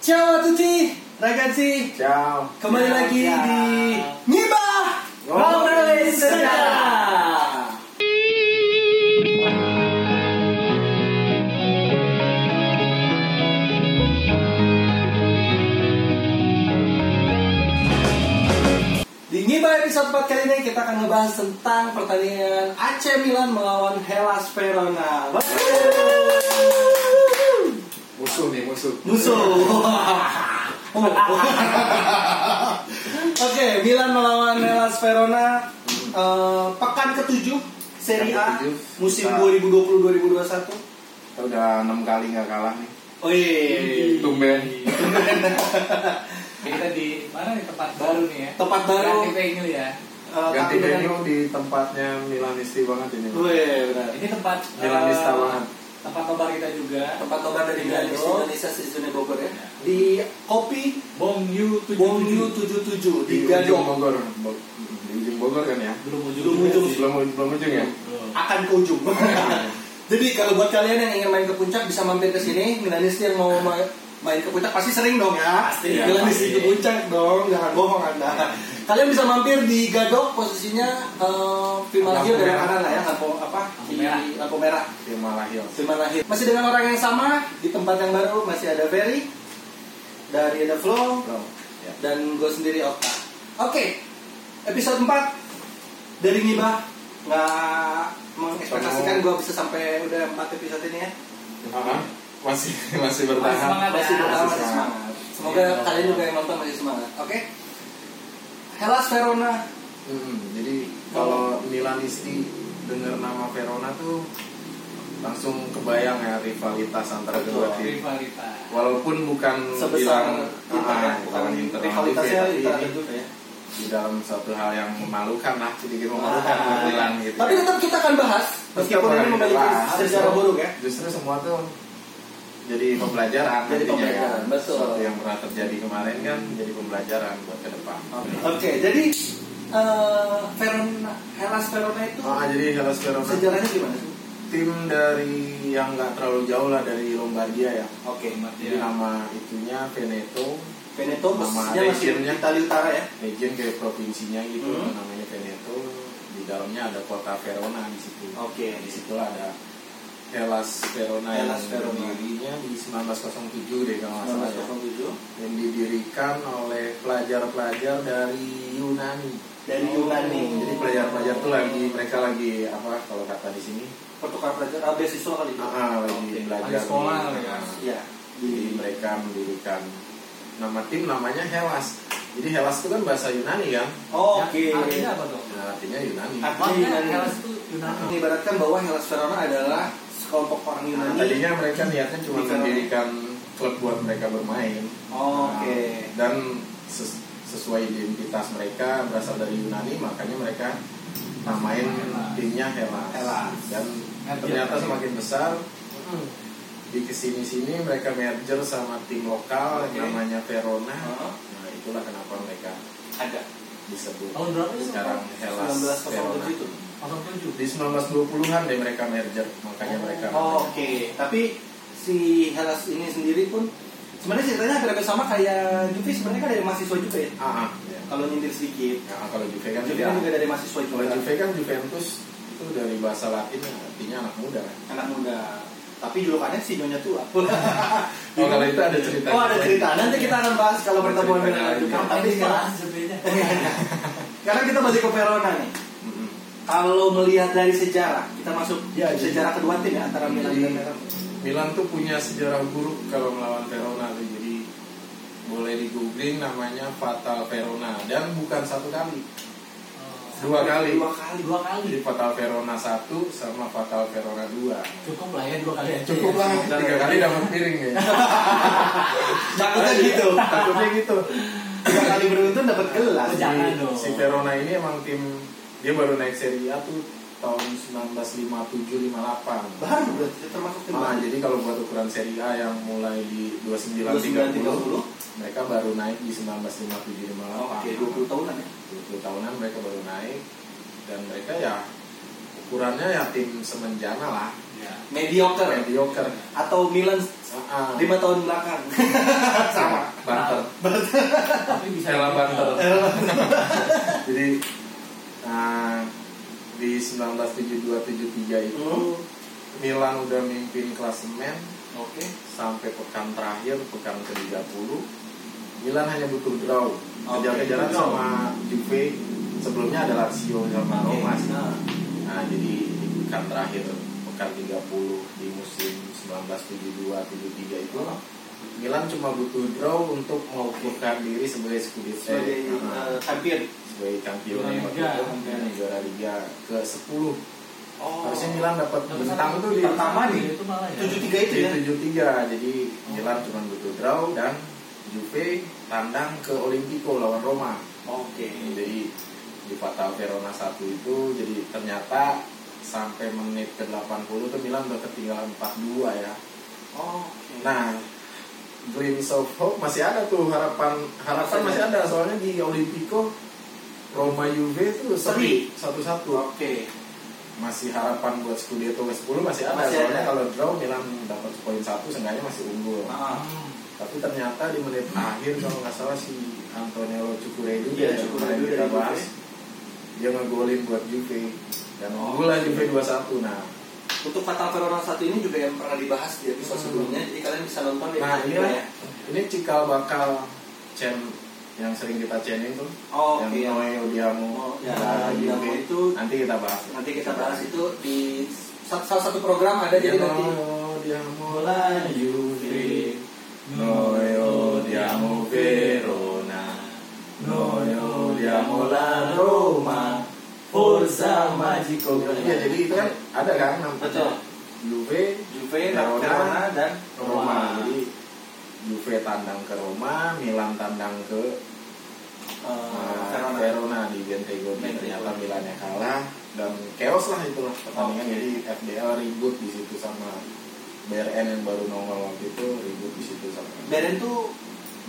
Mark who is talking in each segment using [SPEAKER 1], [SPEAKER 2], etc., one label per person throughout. [SPEAKER 1] Ciao a tutti, ragazzi.
[SPEAKER 2] Ciao.
[SPEAKER 1] Kembali
[SPEAKER 2] Ciao,
[SPEAKER 1] lagi
[SPEAKER 2] ciao.
[SPEAKER 1] di Ngibah Ngobrolin Senja. Di Ngibah episode 4 kali ini kita akan ngebahas tentang pertandingan AC Milan melawan Hellas Verona.
[SPEAKER 2] Musuh nih, musuh.
[SPEAKER 1] Musuh. Oh. Oke, Milan melawan Hellas Verona eh, pekan ketujuh Serie A
[SPEAKER 2] Pekan ketujuh.
[SPEAKER 1] musim
[SPEAKER 2] Nah.
[SPEAKER 1] 2020-2021.
[SPEAKER 2] Kita udah 6 kali nggak kalah nih.
[SPEAKER 1] Oh iya.
[SPEAKER 2] Tumben.
[SPEAKER 3] kita di mana nih tempat baru nih ya
[SPEAKER 1] Tempat baru
[SPEAKER 3] Ganti venue ya
[SPEAKER 1] eh,
[SPEAKER 2] Ganti
[SPEAKER 1] tampil-
[SPEAKER 2] venue di tempatnya Milanisti banget ini.
[SPEAKER 1] Wih, benar.
[SPEAKER 3] ini tempat
[SPEAKER 2] Milanista
[SPEAKER 3] eh,
[SPEAKER 2] banget.
[SPEAKER 3] tempat nobar kita juga
[SPEAKER 1] Tempat obat dari
[SPEAKER 3] Iya,
[SPEAKER 1] Garis
[SPEAKER 3] bro.
[SPEAKER 1] Indonesia Season Bogor ya. Di Kopi
[SPEAKER 3] bong you tujuh
[SPEAKER 1] Bongyu 77 di
[SPEAKER 2] Di ujung
[SPEAKER 1] Gadok.
[SPEAKER 2] Bogor. Bo- Di ujung Bogor kan ya?
[SPEAKER 3] belum ujung
[SPEAKER 1] Belum ujung.
[SPEAKER 3] juga sih.
[SPEAKER 2] Belum belum ujung ya?
[SPEAKER 3] Belum.
[SPEAKER 1] Akan ke ujung. Jadi kalau buat kalian yang ingin main ke puncak bisa mampir ke sini. Milanisti yang mau ma- main ke puncak pasti sering dong ya.
[SPEAKER 3] Pasti, ya,
[SPEAKER 1] Milanisti
[SPEAKER 3] pasti.
[SPEAKER 1] ke puncak dong, jangan bohong anda. Kalian bisa mampir di Gadok posisinya eh Vimalahir
[SPEAKER 2] Lampu
[SPEAKER 1] dari
[SPEAKER 2] merah.
[SPEAKER 1] kanan lah ya, lampu apa?
[SPEAKER 3] Lampu
[SPEAKER 1] Di
[SPEAKER 3] merah.
[SPEAKER 1] lampu merah.
[SPEAKER 2] Di Malahil.
[SPEAKER 1] Vimalahir. Masih dengan orang yang sama di tempat yang baru masih ada Ferry dari ada Flow
[SPEAKER 2] Belum. Ya.
[SPEAKER 1] dan gue sendiri Okta. Oke, episode 4 dari Ngibah nggak mengekspektasikan gue bisa sampai udah 4 episode ini ya.
[SPEAKER 2] Aha. Masih masih
[SPEAKER 3] Masih
[SPEAKER 2] bertahan.
[SPEAKER 3] semangat
[SPEAKER 1] Masih
[SPEAKER 3] ya.
[SPEAKER 1] bertahan,
[SPEAKER 2] Masih
[SPEAKER 1] masih
[SPEAKER 2] semangat.
[SPEAKER 1] semangat. Semoga
[SPEAKER 3] Iya.
[SPEAKER 1] kalian juga yang nonton masih semangat. Oke. Hellas Verona.
[SPEAKER 2] Hmm, jadi kalau Milanisti dengar nama Verona tuh langsung kebayang ya rivalitas antara kedua
[SPEAKER 1] Betul.
[SPEAKER 2] tim.
[SPEAKER 3] rivalitas
[SPEAKER 2] Walaupun bukan
[SPEAKER 1] Sebesar Inter
[SPEAKER 2] bilang
[SPEAKER 1] ya,
[SPEAKER 2] ah,
[SPEAKER 1] bukan
[SPEAKER 2] bukan Inter
[SPEAKER 1] rivalitasnya
[SPEAKER 2] tapi
[SPEAKER 1] Inter
[SPEAKER 2] ini
[SPEAKER 1] juga ya.
[SPEAKER 2] di dalam satu hal yang memalukan lah sedikit memalukan
[SPEAKER 1] Ah.
[SPEAKER 2] buat Milan gitu.
[SPEAKER 1] Tapi tetap kita akan bahas meskipun
[SPEAKER 2] Tetap
[SPEAKER 1] ini
[SPEAKER 2] akan
[SPEAKER 1] memiliki
[SPEAKER 2] dibahas.
[SPEAKER 1] sejarah buruk ya.
[SPEAKER 2] justru semua tuh jadi pembelajaran
[SPEAKER 1] Jadi
[SPEAKER 2] nantinya ya.
[SPEAKER 1] pembelajaran, betul.
[SPEAKER 2] Sesuatu yang pernah terjadi kemarin kan jadi pembelajaran buat ke depan.
[SPEAKER 1] Oke, jadi eh, Verona, Hellas Verona itu
[SPEAKER 2] Oh, jadi Hellas Verona
[SPEAKER 1] sejarahnya gimana sih?
[SPEAKER 2] tim dari yang nggak terlalu jauh lah dari Lombardia ya.
[SPEAKER 1] Oke,
[SPEAKER 2] Jadi
[SPEAKER 1] Iya.
[SPEAKER 2] nama itunya Veneto,
[SPEAKER 1] Veneto
[SPEAKER 2] Nama
[SPEAKER 1] posisinya masih
[SPEAKER 2] regionnya.
[SPEAKER 1] Italia Utara ya.
[SPEAKER 2] region kayak provinsinya gitu
[SPEAKER 1] Hmm.
[SPEAKER 2] namanya Veneto. Di dalamnya ada kota Verona di situ.
[SPEAKER 1] Oke.
[SPEAKER 2] Di situ ada Hellas Verona
[SPEAKER 1] Hellas
[SPEAKER 2] yang
[SPEAKER 1] Verona.
[SPEAKER 2] berdirinya di 1907 deh kalau nggak salah ya.
[SPEAKER 1] 1907
[SPEAKER 2] yang didirikan oleh pelajar-pelajar dari Yunani. Oh,
[SPEAKER 1] dari Yunani.
[SPEAKER 2] Jadi pelajar-pelajar itu lagi mereka lagi apa kalau kata di sini
[SPEAKER 1] pertukaran pelajar ah, beasiswa kali ya.
[SPEAKER 2] ah, lagi
[SPEAKER 1] Oke.
[SPEAKER 2] belajar
[SPEAKER 3] Lagi sekolah
[SPEAKER 2] di-
[SPEAKER 3] kali ya.
[SPEAKER 2] ah,
[SPEAKER 1] Iya.
[SPEAKER 2] Jadi mereka mendirikan nama tim namanya Hellas. Jadi Hellas itu kan bahasa Yunani kan?
[SPEAKER 1] Oh, Oke.
[SPEAKER 3] Ya, artinya apa dong
[SPEAKER 2] Nah, artinya Yunani.
[SPEAKER 1] Artinya
[SPEAKER 3] Makanya
[SPEAKER 1] Yunani.
[SPEAKER 3] Hellas itu Yunani
[SPEAKER 1] Mengibaratkan bahwa Hellas Verona adalah sekelompok orang
[SPEAKER 2] Nah,
[SPEAKER 1] Yunani.
[SPEAKER 2] tadinya mereka niatnya cuma
[SPEAKER 1] Di Verona.
[SPEAKER 2] mendirikan klub buat mereka bermain.
[SPEAKER 1] Oh, Oke.
[SPEAKER 2] Nah, Dan ses- sesuai identitas mereka berasal dari Yunani, makanya mereka namain
[SPEAKER 3] Hellas.
[SPEAKER 2] timnya Hellas.
[SPEAKER 1] Hellas.
[SPEAKER 2] Dan
[SPEAKER 3] Merger.
[SPEAKER 2] ternyata semakin besar
[SPEAKER 3] Hmm.
[SPEAKER 2] di kesini-sini mereka merger sama tim lokal yang
[SPEAKER 3] Oke.
[SPEAKER 2] namanya Verona.
[SPEAKER 1] Hah?
[SPEAKER 2] Nah, itulah kenapa mereka
[SPEAKER 1] Ada.
[SPEAKER 2] disebut
[SPEAKER 3] Tahun berapa
[SPEAKER 1] Oh,
[SPEAKER 3] itu?
[SPEAKER 2] sekarang Hellas
[SPEAKER 1] 1907
[SPEAKER 2] Verona.
[SPEAKER 1] itu.
[SPEAKER 3] 07
[SPEAKER 2] Di 1920-an deh mereka merger, makanya
[SPEAKER 3] Oh.
[SPEAKER 2] mereka
[SPEAKER 1] Oh, Oke. Tapi si Hellas ini sendiri pun sebenarnya ceritanya hampir sama kayak Juve sebenarnya kan dari mahasiswa juga ya.
[SPEAKER 2] Ah, ah, ya.
[SPEAKER 1] Kalau nyindir sedikit.
[SPEAKER 2] Nah, kalau Juve kan
[SPEAKER 1] Juve
[SPEAKER 2] tidak.
[SPEAKER 1] kan juga dari mahasiswa
[SPEAKER 2] Kalau
[SPEAKER 1] juga.
[SPEAKER 2] Juve kan Juventus itu dari bahasa Latin yang artinya anak muda kan.
[SPEAKER 1] Anak muda. Tapi julukannya si Nyonya Tua.
[SPEAKER 2] Oh, kalau itu ada cerita.
[SPEAKER 1] Iya, Oh ada cerita. Nanti kita akan bahas kalau
[SPEAKER 2] Ada
[SPEAKER 1] pertemuan
[SPEAKER 2] cerita
[SPEAKER 1] dengan
[SPEAKER 2] lagi.
[SPEAKER 1] Juve.
[SPEAKER 3] Kapan
[SPEAKER 1] Tapi
[SPEAKER 3] ini
[SPEAKER 1] sekarang,
[SPEAKER 3] sekarang sebelumnya
[SPEAKER 1] Eh, sekarang kita balik ke Verona nih.
[SPEAKER 2] Mm-mm.
[SPEAKER 1] Kalau melihat dari sejarah, kita masuk
[SPEAKER 2] Ya, jadi-
[SPEAKER 1] sejarah kedua tim ya antara Milan dan
[SPEAKER 2] Jadi-
[SPEAKER 1] Verona.
[SPEAKER 2] Milan tuh punya sejarah buruk kalau melawan Verona tuh. Jadi boleh di googling namanya Fatal Verona dan bukan satu kali,
[SPEAKER 3] Oh,
[SPEAKER 2] dua kali.
[SPEAKER 1] Dua kali.
[SPEAKER 3] dua kali
[SPEAKER 2] Jadi Fatal Verona satu sama Fatal Verona dua.
[SPEAKER 3] cukup lah ya dua kali aja
[SPEAKER 2] Cukup lah, tiga kali dapat piring ya. Iya,
[SPEAKER 1] Takutnya gitu.
[SPEAKER 2] Takutnya gitu.
[SPEAKER 1] Tiga kali beruntun dapat gelas.
[SPEAKER 3] Oh, jangan
[SPEAKER 2] Si-
[SPEAKER 3] dong.
[SPEAKER 2] Si Verona ini emang tim dia baru naik Serie A tuh tahun 1957-58.
[SPEAKER 1] Baru berarti termasuk tim
[SPEAKER 2] Nah,
[SPEAKER 1] baru.
[SPEAKER 2] jadi kalau buat ukuran Serie A yang mulai di 29-30
[SPEAKER 1] 29-30.
[SPEAKER 2] mereka baru naik di 1957
[SPEAKER 1] Oh,
[SPEAKER 2] malah
[SPEAKER 1] Oke, 20 tahunan ya.
[SPEAKER 2] 20 tahunan mereka baru naik dan mereka ya ukurannya ya tim semenjana lah
[SPEAKER 3] Iya.
[SPEAKER 2] Ya.
[SPEAKER 1] mediocre
[SPEAKER 2] Mediocre.
[SPEAKER 1] atau Milan
[SPEAKER 2] Ah, ah.
[SPEAKER 1] lima tahun belakang sama
[SPEAKER 2] Banter.
[SPEAKER 3] Tapi bisa Eh,
[SPEAKER 2] Ella Banter.
[SPEAKER 1] Ella
[SPEAKER 2] Jadi nah, di 1972-73 itu
[SPEAKER 1] Hmm,
[SPEAKER 2] Milan udah mimpin klasemen
[SPEAKER 3] Oke.
[SPEAKER 2] sampai pekan terakhir, pekan ke-30. Milan hanya butuh draw. Kejar-kejaran
[SPEAKER 1] Draw.
[SPEAKER 2] sama Juve. Sebelumnya ada Lazio sama Roma.
[SPEAKER 1] Oke, nah,
[SPEAKER 2] Nah, jadi di pekan terakhir, pekan 30 di musim 1972-73 itu Milan cuma butuh draw untuk mengukuhkan diri sebagai Scudetto.
[SPEAKER 1] sebagai
[SPEAKER 2] Nah,
[SPEAKER 1] eh, champion
[SPEAKER 2] sebagai kampion
[SPEAKER 3] Juara
[SPEAKER 2] waktu
[SPEAKER 3] Liga.
[SPEAKER 2] itu, mungkin juara Liga ke
[SPEAKER 1] oh.
[SPEAKER 2] 10 harusnya Milan dapat
[SPEAKER 3] Dapat
[SPEAKER 2] bintang
[SPEAKER 3] satu.
[SPEAKER 2] itu di
[SPEAKER 1] pertama di
[SPEAKER 3] itu malah ya.
[SPEAKER 1] tujuh tiga itu
[SPEAKER 2] di
[SPEAKER 1] ya
[SPEAKER 2] 73 jadi Milan cuma butuh draw dan Juve tandang ke Olimpico lawan Roma
[SPEAKER 1] oke
[SPEAKER 2] jadi di Fatal Verona 1 itu jadi ternyata sampai menit ke 80 tuh Milan udah ketinggalan 4-2 ya
[SPEAKER 1] oke
[SPEAKER 2] Nah, Dreams of Hope masih ada tuh harapan harapan
[SPEAKER 1] Masih
[SPEAKER 2] masih ada soalnya di Olimpico Roma Juve tuh
[SPEAKER 1] Seri.
[SPEAKER 2] seri satu-satu
[SPEAKER 1] oke
[SPEAKER 2] masih harapan buat Scudetto ke 10 masih ada
[SPEAKER 1] Masih
[SPEAKER 2] soalnya
[SPEAKER 1] ada.
[SPEAKER 2] kalau draw Milan dapat poin satu seenggaknya masih unggul
[SPEAKER 1] Ah,
[SPEAKER 3] Hmm.
[SPEAKER 2] tapi ternyata di menit akhir kalau nggak salah si Antonello Cucurella
[SPEAKER 1] Iya,
[SPEAKER 2] ya, yang
[SPEAKER 1] Cucurella
[SPEAKER 2] kemarin kita
[SPEAKER 1] dari Juve.
[SPEAKER 2] bahas dia ngegolin buat Juve dan
[SPEAKER 1] Oh.
[SPEAKER 2] unggul lah Juve 2-1 nah
[SPEAKER 1] untuk Fatal Verona satu ini juga yang pernah dibahas di episode
[SPEAKER 2] Hmm.
[SPEAKER 1] sebelumnya jadi kalian bisa nonton di
[SPEAKER 2] Nah,
[SPEAKER 1] episode
[SPEAKER 2] iya.
[SPEAKER 1] kita ya
[SPEAKER 2] ini cikal bakal Cem yang sering kita chaining tuh
[SPEAKER 1] oh, oke
[SPEAKER 2] yang Noe
[SPEAKER 1] Oh,
[SPEAKER 2] Odiamo
[SPEAKER 1] ya,
[SPEAKER 2] Nah,
[SPEAKER 1] Odiamo
[SPEAKER 2] Juve.
[SPEAKER 1] itu
[SPEAKER 2] nanti kita bahas
[SPEAKER 1] nanti kita bahas itu di sa- salah satu program ada jadi
[SPEAKER 2] Noe
[SPEAKER 1] nanti
[SPEAKER 2] Odiamo la Juve Noe Odiamo Verona Noe Odiamo la Roma Forza Magico Iya jadi itu kan ada kan
[SPEAKER 1] betul
[SPEAKER 2] namanya Juve
[SPEAKER 1] Juve
[SPEAKER 2] Verona.
[SPEAKER 1] Verona dan
[SPEAKER 2] Iya, Roma Nah, jadi Juve tandang ke Roma Milan tandang ke
[SPEAKER 1] eh, Verona
[SPEAKER 2] Nah, Verona di Bentego
[SPEAKER 1] Bentego.
[SPEAKER 2] ternyata Milan yang kalah dan chaos lah itulah pertandingan
[SPEAKER 1] Oke.
[SPEAKER 2] jadi FDL ribut di situ sama BRN yang baru nongol waktu itu ribut di situ sama
[SPEAKER 1] Beren tuh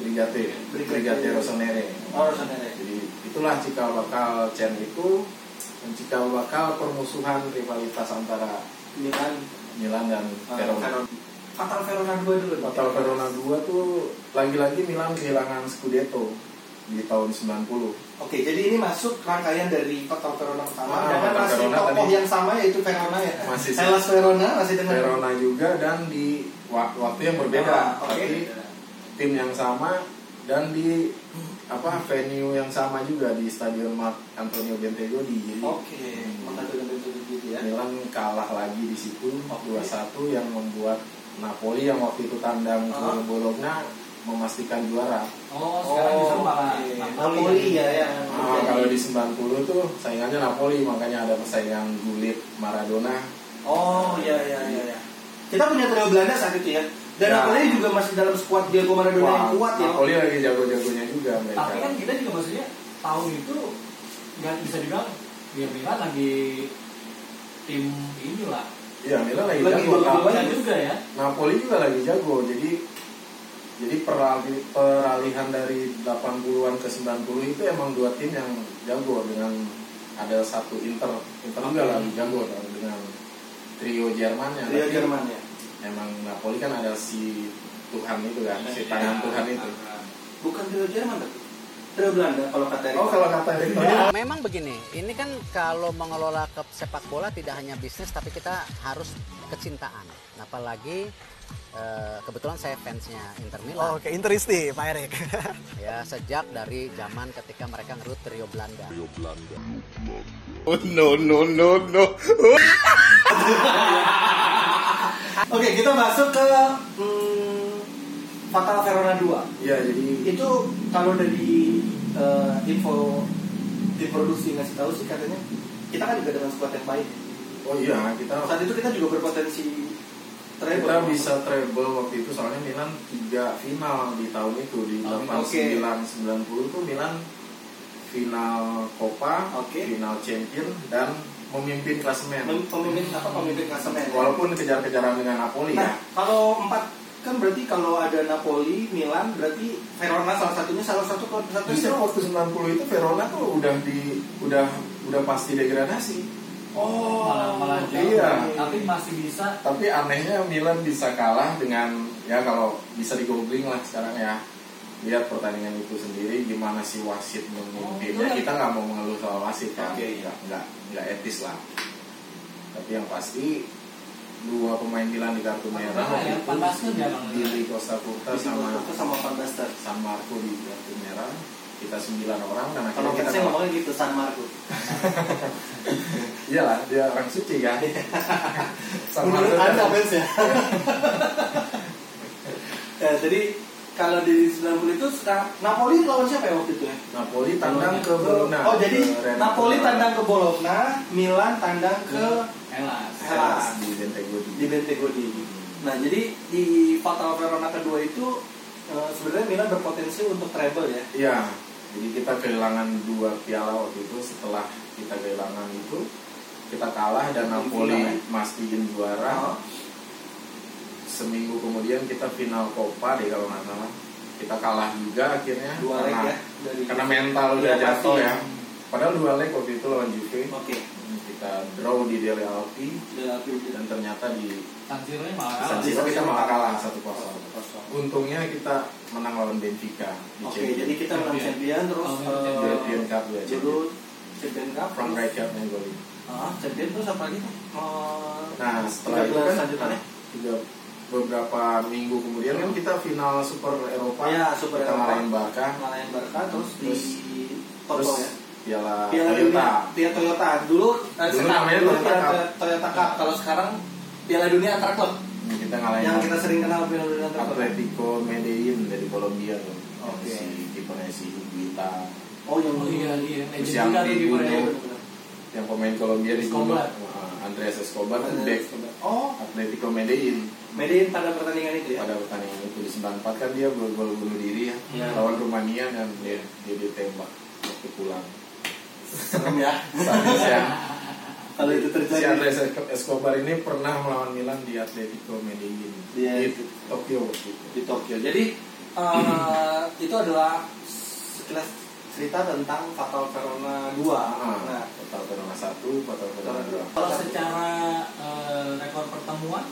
[SPEAKER 2] Brigate
[SPEAKER 1] Brigate.
[SPEAKER 2] Brigate Rossoneri
[SPEAKER 1] Oh, Rossoneri.
[SPEAKER 2] jadi itulah cikal bakal Chen itu dan cikal bakal permusuhan rivalitas antara
[SPEAKER 1] Milan
[SPEAKER 2] Milan dan
[SPEAKER 1] eh,
[SPEAKER 2] Verona.
[SPEAKER 1] Verona. Fatal Verona 2 dulu
[SPEAKER 2] Total Ah, Verona 2 tuh lagi-lagi Milan kehilangan Scudetto di tahun 90.
[SPEAKER 1] Oke, jadi ini masuk rangkaian dari Fatal Verona pertama
[SPEAKER 2] Ah,
[SPEAKER 1] dengan
[SPEAKER 2] Fatal
[SPEAKER 1] masih
[SPEAKER 2] Verona
[SPEAKER 1] tokoh
[SPEAKER 2] tadi.
[SPEAKER 1] yang sama yaitu Verona ya.
[SPEAKER 2] Masih sih.
[SPEAKER 1] Hellas Verona masih dengan
[SPEAKER 2] Verona juga dan di wa- waktu yang
[SPEAKER 1] Nah. Ah,
[SPEAKER 2] berbeda,
[SPEAKER 1] oke.
[SPEAKER 2] tapi tim yang sama dan di apa venue yang sama juga di Stadion Mark Antonio Bentego di
[SPEAKER 1] Oke, mengatakan itu gitu ya.
[SPEAKER 2] Milan kalah lagi di situ
[SPEAKER 1] Oke.
[SPEAKER 2] 2-1 yang membuat Napoli yang waktu itu tandang ke
[SPEAKER 1] Ah.
[SPEAKER 2] Bologna memastikan juara.
[SPEAKER 3] Oh, sekarang justru malah
[SPEAKER 1] oke.
[SPEAKER 3] Napoli.
[SPEAKER 1] Napoli ya yang
[SPEAKER 2] Ah, kalau di 90 tuh saingannya Napoli makanya ada persaingan Gullit Maradona.
[SPEAKER 1] Oh, iya iya iya iya. Kita punya trio Belanda saat itu ya. Dan
[SPEAKER 2] Ya.
[SPEAKER 1] Napoli juga masih dalam skuad Diego Maradona yang kuat ya.
[SPEAKER 2] Napoli lagi jago-jagonya juga mereka.
[SPEAKER 3] Tapi kan kita juga maksudnya tahun itu nggak bisa dibilang biar Milan lagi tim inilah.
[SPEAKER 2] Iya, Milan lagi,
[SPEAKER 1] Lagi
[SPEAKER 2] jago.
[SPEAKER 1] jago-jago
[SPEAKER 2] Napoli
[SPEAKER 3] Bisa juga ya.
[SPEAKER 2] Napoli juga lagi jago jadi jadi perali- peralihan dari 80-an ke 90 itu emang dua tim yang jago dengan ada satu Inter Inter juga lagi jago kan, dengan trio Jerman yang
[SPEAKER 1] Trio Jerman ya.
[SPEAKER 2] emang Napoli kan ada si Tuhan itu kan si
[SPEAKER 3] Iya,
[SPEAKER 2] tangan Tuhan itu
[SPEAKER 1] Bukan trio Jerman tapi trio Belanda kalau kata Erick.
[SPEAKER 2] oh kalau kata Erick Thohir,
[SPEAKER 4] Memang begini, ini kan kalau mengelola ke sepak bola tidak hanya bisnis tapi kita harus kecintaan. Apalagi eh, kebetulan saya fansnya Inter Milan.
[SPEAKER 5] Oh, Oke, interesting, Pak Erik.
[SPEAKER 4] Ya sejak dari zaman ketika mereka ngerut Trio Belanda.
[SPEAKER 1] Oke, kita masuk ke hmm, Fatal Verona 2.
[SPEAKER 2] iya jadi
[SPEAKER 1] itu kalau dari eh, info tim produksi ngasih tahu sih katanya kita kan juga dengan squad yang baik
[SPEAKER 2] oh iya kita
[SPEAKER 1] saat itu kita juga berpotensi treble
[SPEAKER 2] kita bisa treble waktu itu soalnya Milan tiga final di tahun itu di
[SPEAKER 1] Oh,
[SPEAKER 2] 89
[SPEAKER 1] oke.
[SPEAKER 2] 90 tuh Milan final Copa,
[SPEAKER 1] Oke.
[SPEAKER 2] final Champion dan memimpin klasemen.
[SPEAKER 1] Mem- pemimpin apa pemimpin klasemen
[SPEAKER 2] Walaupun kejar-kejaran dengan Napoli
[SPEAKER 1] nah
[SPEAKER 2] ya.
[SPEAKER 1] kalau empat kan berarti kalau ada Napoli Milan berarti Verona salah satunya salah satu klub satu
[SPEAKER 2] Justru waktu 90 itu Verona tuh udah di udah udah pasti degradasi.
[SPEAKER 1] Oh,
[SPEAKER 3] malah malah jauh
[SPEAKER 2] iya.
[SPEAKER 3] tapi masih bisa
[SPEAKER 2] Tapi anehnya Milan bisa kalah dengan ya kalau bisa digoogling lah sekarang ya. Lihat pertandingan itu sendiri gimana si wasit memimpinnya.
[SPEAKER 3] Oh, iya.
[SPEAKER 2] Kita nggak mau mengeluh soal wasit kan.
[SPEAKER 1] Oke, iya.
[SPEAKER 2] Nggak, nggak nggak etis lah. Tapi yang pasti dua pemain Milan di kartu
[SPEAKER 3] Pantas
[SPEAKER 1] Iya,
[SPEAKER 2] merah
[SPEAKER 3] lah ya, pantas kan ya, Bang.
[SPEAKER 2] Dili Costa Curta sama
[SPEAKER 1] itu sama Van Basten.
[SPEAKER 2] San Marco di kartu merah kita sembilan orang dan
[SPEAKER 1] Kalau kan
[SPEAKER 2] akhirnya kita
[SPEAKER 1] saya
[SPEAKER 2] kalah.
[SPEAKER 1] ngomongnya gitu San Marco.
[SPEAKER 2] iyalah dia orang suci kan San
[SPEAKER 1] Menurut
[SPEAKER 2] Marco
[SPEAKER 1] Anda
[SPEAKER 2] kan-
[SPEAKER 1] fans ya. Eh, jadi kalau di 90 itu sekarang Napoli lawan siapa ya waktu itu ya?
[SPEAKER 2] Napoli tandang ke Bologna.
[SPEAKER 1] Oh jadi
[SPEAKER 2] Ke Real-
[SPEAKER 1] Napoli
[SPEAKER 2] ke-
[SPEAKER 1] tandang ke Bologna, Milan tandang ke
[SPEAKER 3] elas
[SPEAKER 2] Hellas Nah, di Bentego di-
[SPEAKER 1] di Bentego di. Nah jadi di Fatal Verona kedua itu eh, sebenarnya Milan berpotensi untuk treble ya.
[SPEAKER 2] Iya. Jadi kita kehilangan dua piala waktu itu setelah kita kehilangan itu kita kalah
[SPEAKER 1] Di
[SPEAKER 2] dan
[SPEAKER 1] final, ya?
[SPEAKER 2] Napoli mastiin juara.
[SPEAKER 1] Oh.
[SPEAKER 2] Seminggu kemudian kita final Copa deh kalau nggak salah. Kita kalah juga akhirnya
[SPEAKER 1] Dua leg
[SPEAKER 2] karena
[SPEAKER 1] ya dari.
[SPEAKER 2] karena mental
[SPEAKER 1] Iya,
[SPEAKER 2] udah
[SPEAKER 1] pasti. Oh.
[SPEAKER 2] jatuh ya. Padahal dua leg waktu itu lawan Juve
[SPEAKER 1] Oke.
[SPEAKER 2] kita draw di Dele Alpi
[SPEAKER 1] Udah lebih-
[SPEAKER 2] dan ternyata di
[SPEAKER 3] Tansironya malah
[SPEAKER 2] San
[SPEAKER 1] Ah,
[SPEAKER 3] kalah
[SPEAKER 1] San Siro.
[SPEAKER 2] Siro kita malah kalah 1-0.
[SPEAKER 1] kosong.
[SPEAKER 2] Untungnya kita menang lawan Benfica di
[SPEAKER 1] Oke,
[SPEAKER 2] Champions.
[SPEAKER 1] jadi kita menang champion terus
[SPEAKER 3] Oh,
[SPEAKER 1] eh,
[SPEAKER 2] European Cup ya.
[SPEAKER 1] dulu champion cup
[SPEAKER 2] From
[SPEAKER 1] terus-
[SPEAKER 2] right yang golin.
[SPEAKER 1] Ah, champion terus apa lagi tuh? Eh,
[SPEAKER 2] Nah, setelah itu
[SPEAKER 1] 13
[SPEAKER 2] kan
[SPEAKER 1] lanjutannya.
[SPEAKER 2] tiga beberapa minggu kemudian kan kita final Super Eropa.
[SPEAKER 1] Iya, Super
[SPEAKER 2] kita
[SPEAKER 1] Eropa.
[SPEAKER 2] ngalahin Barca.
[SPEAKER 1] ngalahin Barca terus di
[SPEAKER 2] Terus-
[SPEAKER 1] Toto
[SPEAKER 2] Terus
[SPEAKER 1] ya.
[SPEAKER 2] Piala,
[SPEAKER 1] Piala
[SPEAKER 2] Toyota.
[SPEAKER 1] Dunia, Piala Toyota. Dulu eh,
[SPEAKER 2] Dulu
[SPEAKER 1] sekarang-
[SPEAKER 2] namanya
[SPEAKER 1] dulu
[SPEAKER 2] Toyota
[SPEAKER 1] Piala
[SPEAKER 2] Cup.
[SPEAKER 1] Toy- Toyota Cup. Kalau sekarang Piala Dunia antar klub
[SPEAKER 2] Nah, Kita ngalahin
[SPEAKER 1] yang kita sering kenal Piala Dunia antar klub.
[SPEAKER 2] Atletico Medellin dari Kolombia tuh.
[SPEAKER 1] Oke.
[SPEAKER 2] Yang Si kipernya si Higuita.
[SPEAKER 1] Oh, yang
[SPEAKER 3] oh iya iya legend
[SPEAKER 2] Terus yang
[SPEAKER 3] juga tuh di
[SPEAKER 2] dibunuh.
[SPEAKER 3] Korea.
[SPEAKER 2] Yang pemain Kolombia di
[SPEAKER 3] Escobar.
[SPEAKER 2] Andreas Escobar tuh back
[SPEAKER 1] Oh,
[SPEAKER 2] Atletico Medellin.
[SPEAKER 1] Medin pada pertandingan itu ya.
[SPEAKER 2] pada pertandingan itu di 94 kan dia gol gol bunuh diri ya
[SPEAKER 3] Iya.
[SPEAKER 2] lawan Rumania dan dia dia ditembak waktu pulang
[SPEAKER 1] Serem ya.
[SPEAKER 2] sadis ya
[SPEAKER 1] Kalau itu
[SPEAKER 2] si
[SPEAKER 1] terjadi.
[SPEAKER 2] Andres Escobar ini pernah melawan Milan di Atletico Medellin
[SPEAKER 1] Iya.
[SPEAKER 2] di Tokyo waktu itu
[SPEAKER 1] di Tokyo. Jadi eh, itu adalah sekilas cerita tentang Fatal Verona 2. Nah,
[SPEAKER 2] nah total Verona satu total Verona dua
[SPEAKER 3] kalau secara eh, rekor pertemuan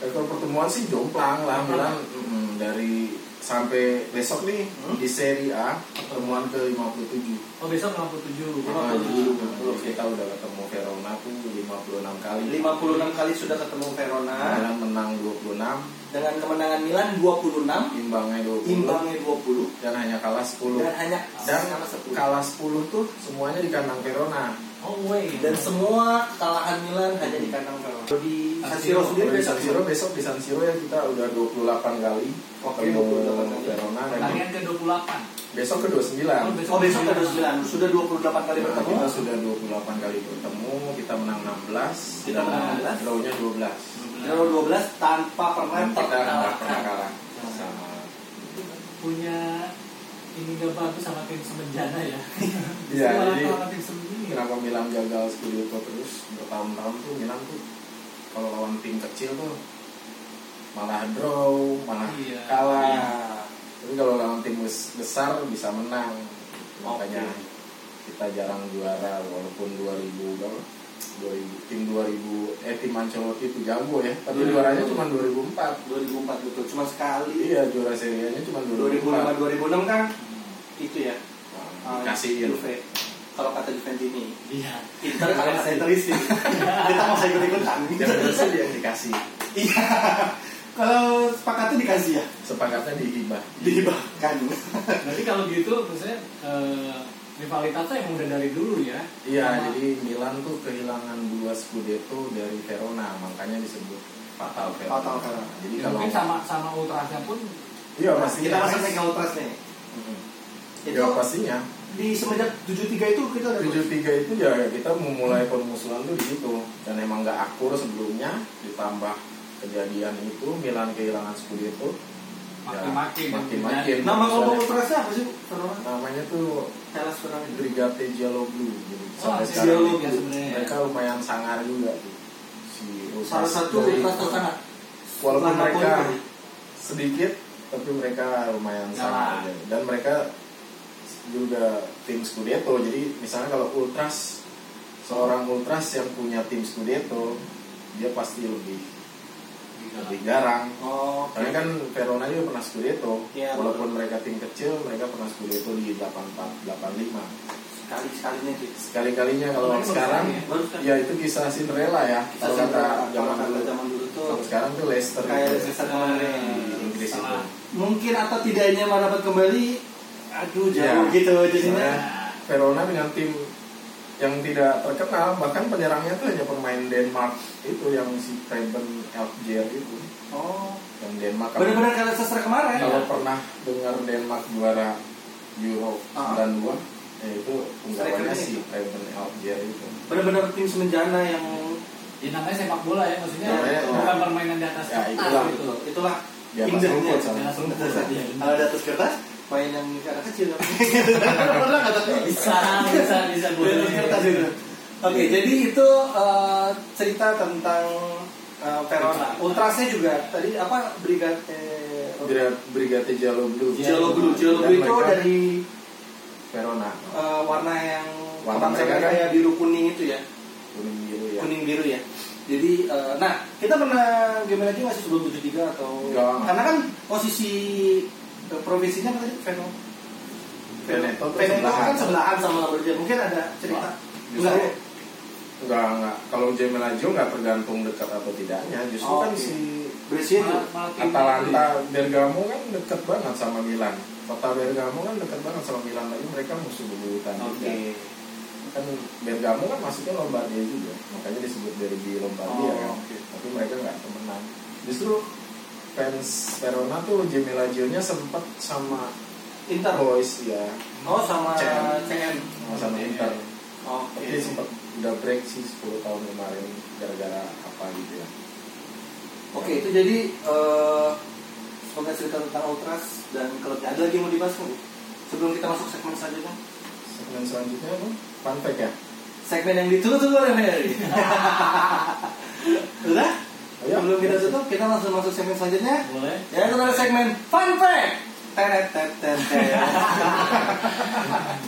[SPEAKER 2] rekor pertemuan sih jomplang lah Milan mm, dari sampai besok nih
[SPEAKER 1] Hmm?
[SPEAKER 2] di Serie A pertemuan ke 57
[SPEAKER 3] oh besok 57
[SPEAKER 2] Nah,
[SPEAKER 1] dulu.
[SPEAKER 2] jadi kita udah ketemu Verona tuh 56 kali
[SPEAKER 1] 56 kali sudah ketemu Verona
[SPEAKER 2] Milan menang 26
[SPEAKER 1] dengan kemenangan Milan 26,
[SPEAKER 2] imbangnya 20
[SPEAKER 1] imbangnya 20
[SPEAKER 2] dan hanya kalah 10
[SPEAKER 1] dan hanya
[SPEAKER 2] dan
[SPEAKER 1] sama 10.
[SPEAKER 2] kalah 10 tuh semuanya di kandang Verona
[SPEAKER 3] oh way
[SPEAKER 1] Dan semua kekalahan Milan hanya di kandang Verona. Kalau Di San Siro
[SPEAKER 2] Kalau
[SPEAKER 1] sendiri
[SPEAKER 2] di San Siro besok di San Siro ya kita udah 28 kali
[SPEAKER 1] Oke,
[SPEAKER 2] ketemu
[SPEAKER 1] 28 kali.
[SPEAKER 2] Verona dan
[SPEAKER 3] pertandingan ke 28
[SPEAKER 2] besok ke 29
[SPEAKER 3] Oh,
[SPEAKER 2] nah,
[SPEAKER 3] besok.
[SPEAKER 1] Oh besok ada 9, sudah 28 kali bertemu.
[SPEAKER 2] kita sudah 28 kali bertemu kita menang 16
[SPEAKER 1] Kita
[SPEAKER 2] dan
[SPEAKER 1] menang 16.
[SPEAKER 2] draw-nya 12
[SPEAKER 1] Zero 12 tanpa pernah
[SPEAKER 2] dan kita nggak
[SPEAKER 1] terkalah.
[SPEAKER 2] pernah kalah sama
[SPEAKER 3] punya ini gak bagus sama tim semenjana ya
[SPEAKER 2] Iya,
[SPEAKER 3] Malah
[SPEAKER 2] jadi-
[SPEAKER 3] sama tim semenjana
[SPEAKER 2] kenapa Milan gagal Scudetto terus bertahun-tahun tuh Milan tuh kalau lawan tim kecil tuh malah draw, malah
[SPEAKER 3] Iya.
[SPEAKER 2] kalah.
[SPEAKER 1] Iya.
[SPEAKER 2] Tapi kalau lawan tim bes- besar bisa menang. Makanya
[SPEAKER 1] Oke.
[SPEAKER 2] kita jarang juara walaupun 2000 berapa? 2000 tim 2000 eh tim Ancelotti itu jago ya, tapi
[SPEAKER 1] Iya.
[SPEAKER 2] juaranya cuma 2004.
[SPEAKER 1] 2004 betul, cuma sekali.
[SPEAKER 2] Iya, juara serianya cuma 2004.
[SPEAKER 1] 2005 2006 kan itu ya
[SPEAKER 2] Nah,
[SPEAKER 1] Ah,
[SPEAKER 2] dikasihin.
[SPEAKER 1] Juve. Kalau kata Juventini,
[SPEAKER 3] iya
[SPEAKER 1] Inter kalau kata Interisti. Kita mau saya ikut-ikutan.
[SPEAKER 2] Yang bersih yang dikasih.
[SPEAKER 1] Iya. Kalau sepakatnya dikasih ya,
[SPEAKER 2] Sepakatnya dihibah.
[SPEAKER 1] dihibahkan.
[SPEAKER 3] berarti kalau gitu maksudnya eh, rivalitasnya emang udah dari dulu ya
[SPEAKER 2] Iya,
[SPEAKER 3] Sama-
[SPEAKER 2] jadi Milan tuh kehilangan dua Scudetto dari Verona, makanya disebut fatal Verona.
[SPEAKER 1] Fatal Verona.
[SPEAKER 2] Jadi
[SPEAKER 3] Ya,
[SPEAKER 2] kalau
[SPEAKER 3] mungkin sama sama ultrasnya pun
[SPEAKER 2] Iya,
[SPEAKER 1] Nah,
[SPEAKER 2] pastinya.
[SPEAKER 1] kita masuk ke ultras nih.
[SPEAKER 2] Mm-mm.
[SPEAKER 1] Itu
[SPEAKER 2] Ya, pastinya.
[SPEAKER 1] di semenjak 73 itu kita udah
[SPEAKER 2] 73 itu ya kita memulai permusuhan tuh di situ dan emang nggak akur sebelumnya ditambah kejadian itu Milan kehilangan Scudetto. Ya,
[SPEAKER 3] makin-makin
[SPEAKER 2] makin-makin.
[SPEAKER 1] Nama kelompok ultrasnya apa sih? Verona.
[SPEAKER 2] Namanya tuh
[SPEAKER 1] Hellas Verona.
[SPEAKER 2] Brigate Gialloblu. Jadi
[SPEAKER 3] Oh,
[SPEAKER 2] sampai
[SPEAKER 3] si
[SPEAKER 2] sekarang
[SPEAKER 3] Gialloblu
[SPEAKER 2] itu
[SPEAKER 3] sebenarnya.
[SPEAKER 2] mereka lumayan sangar juga tuh. Si Ultras
[SPEAKER 1] Salah satu
[SPEAKER 2] dari-
[SPEAKER 1] ultras tersangat.
[SPEAKER 2] Walaupun
[SPEAKER 1] Setelah
[SPEAKER 2] mereka
[SPEAKER 1] Napoli tadi.
[SPEAKER 2] sedikit tapi mereka lumayan
[SPEAKER 3] Nah.
[SPEAKER 2] sama aja. dan mereka juga tim Scudetto jadi misalnya kalau Ultras seorang ultras yang punya tim Scudetto dia pasti lebih lebih jarang
[SPEAKER 1] Oh,
[SPEAKER 2] karena kan Verona juga pernah Scudetto
[SPEAKER 1] Iya.
[SPEAKER 2] walaupun mereka tim kecil mereka pernah Scudetto di 84 85
[SPEAKER 1] sekali sekalinya gitu.
[SPEAKER 2] sekali-kalinya kalau
[SPEAKER 3] Kemarin baru
[SPEAKER 2] sekarang
[SPEAKER 3] sekali
[SPEAKER 1] Baru sekali.
[SPEAKER 2] ya itu kisah Cinderella ya
[SPEAKER 1] Kita
[SPEAKER 2] kalau kata
[SPEAKER 1] zaman
[SPEAKER 2] zaman
[SPEAKER 1] dulu,
[SPEAKER 2] dulu
[SPEAKER 1] zaman dulu tuh
[SPEAKER 2] kalau sekarang tuh Leicester
[SPEAKER 1] kayak
[SPEAKER 2] gitu.
[SPEAKER 1] Leicester kemarin.
[SPEAKER 2] di
[SPEAKER 3] Eh,
[SPEAKER 2] Inggris itu
[SPEAKER 3] Salah.
[SPEAKER 1] Mungkin atau tidaknya mendapat kembali, aduh jauh
[SPEAKER 2] Iya.
[SPEAKER 1] gitu jadinya.
[SPEAKER 2] Soalnya Verona dengan tim yang tidak terkenal bahkan penyerangnya tuh hanya pemain Denmark itu yang si Preben Elkjær itu
[SPEAKER 1] Oh,
[SPEAKER 2] yang Denmark kalau-
[SPEAKER 1] benar-benar kayak Leicester kemarin.
[SPEAKER 2] kalau pernah dengar Denmark juara Euro
[SPEAKER 1] Ah.
[SPEAKER 2] 92 ya itu penggawannya
[SPEAKER 1] Strikernya
[SPEAKER 2] si Preben Elkjær itu
[SPEAKER 1] Benar-benar tim semenjana yang
[SPEAKER 3] Ya namanya sepak bola ya maksudnya
[SPEAKER 2] Ya, ya.
[SPEAKER 3] bukan permainan di atas
[SPEAKER 2] Ya,
[SPEAKER 3] kertas
[SPEAKER 2] itulah.
[SPEAKER 3] gitu.
[SPEAKER 1] Iya, itulah Indahnya.
[SPEAKER 2] di atas Ya, rumput Iya.
[SPEAKER 3] Di
[SPEAKER 2] sama
[SPEAKER 3] atas rumput. Ya,
[SPEAKER 1] kalau di atas kertas main yang ke arah kecil. Pernah nggak tapi
[SPEAKER 3] Bisa, bisa, bisa boleh.
[SPEAKER 1] Di atas kertas itu. Oke,
[SPEAKER 2] Iya.
[SPEAKER 1] jadi itu eh, cerita tentang eh, Verona. Ultrasnya juga tadi apa brigade eh,
[SPEAKER 2] Brigade- Brigade Giallo Blue
[SPEAKER 1] Jalo Blue. Jalo Blue
[SPEAKER 2] Dan
[SPEAKER 1] Iya, itu
[SPEAKER 2] mereka
[SPEAKER 1] dari
[SPEAKER 2] Verona
[SPEAKER 1] eh, warna yang warna
[SPEAKER 2] Warna mereka kan?
[SPEAKER 1] kayak biru kuning itu ya.
[SPEAKER 2] kuning biru ya
[SPEAKER 1] kuning biru ya jadi eh, nah kita pernah game lagi masih sebelum 73 atau
[SPEAKER 2] Enggak.
[SPEAKER 1] karena kan posisi eh, provinsinya kan tadi Veno
[SPEAKER 2] Veneto tuh
[SPEAKER 1] Veneto
[SPEAKER 2] sebelahan.
[SPEAKER 1] kan sebelahan sama Berja mungkin ada cerita enggak
[SPEAKER 2] Justru
[SPEAKER 1] ya?
[SPEAKER 2] enggak enggak kalau Gemelaggio enggak tergantung dekat atau tidaknya justru
[SPEAKER 1] Oh,
[SPEAKER 2] kan
[SPEAKER 1] iya.
[SPEAKER 2] si
[SPEAKER 1] Brescia itu
[SPEAKER 3] Malah- malah tim-
[SPEAKER 2] Atalanta Bergamo kan deket banget sama Milan. Kota Bergamo kan deket banget sama Milan lagi mereka musuh bebuyutan
[SPEAKER 3] Oke.
[SPEAKER 2] juga. Kan Bergamo kan masuknya Lombardia juga, makanya disebut derby
[SPEAKER 1] Oh,
[SPEAKER 2] Lombardia kan.
[SPEAKER 1] oke.
[SPEAKER 2] Tapi mereka nggak temenan. Justru fans Verona tuh Gemelaggio-nya sempet sama
[SPEAKER 1] Inter
[SPEAKER 2] Boys ya,
[SPEAKER 1] oh sama
[SPEAKER 2] CM.
[SPEAKER 1] CM
[SPEAKER 2] sama Inter.
[SPEAKER 1] oke
[SPEAKER 2] Tapi sempet udah break sih 10 tahun kemarin gara-gara apa gitu ya.
[SPEAKER 1] oke itu jadi eh semoga cerita tentang Ultras dan kalau ada lagi yang mau dibahas nggak, Bu? sebelum kita masuk segmen selanjutnya
[SPEAKER 2] Segmen selanjutnya apa? Fun fact ya?
[SPEAKER 1] segmen yang ditunggu-tunggu oleh Mary udah
[SPEAKER 2] Ayo.
[SPEAKER 1] Ya, Sebelum kita tutup, kita langsung masuk segmen selanjutnya.
[SPEAKER 3] Boleh.
[SPEAKER 1] Ya, itu adalah segmen Fun Fact. Teret, teret, teret, teret.